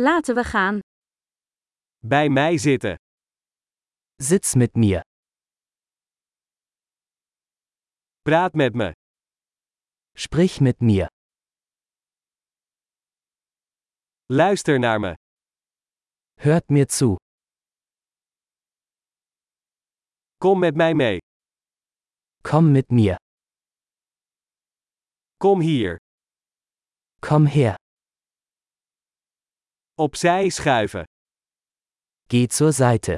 Laten we gaan. Bij mij zitten. Sitz mit mir. Praat met me. Sprich mit mir. Luister naar me. Hört mir zu. Kom met mij mee. Komm mit mir. Kom hier. Komm her. Opzij schuiven. Geh zur Seite.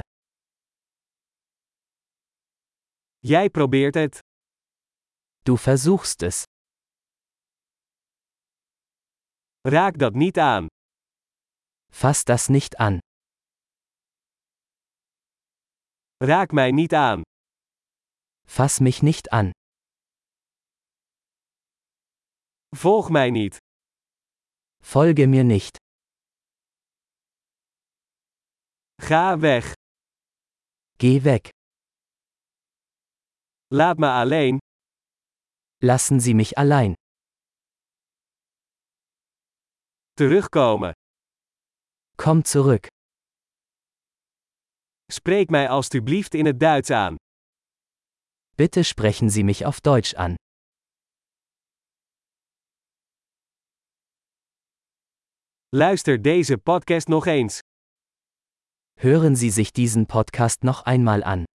Jij probeert het. Du versuchst es. Raak dat niet aan. Fass das nicht an. Raak mij niet aan. Fass mich nicht an. Volg mij niet. Folge mir nicht. Ga weg. Geh weg. Laat me alleen. Lassen Sie mich allein. Terugkomen. Komm zurück. Spreek mij alstublieft in het Duits aan. Bitte sprechen Sie mich auf Deutsch an. Luister deze podcast nog eens. Hören Sie sich diesen Podcast noch einmal an.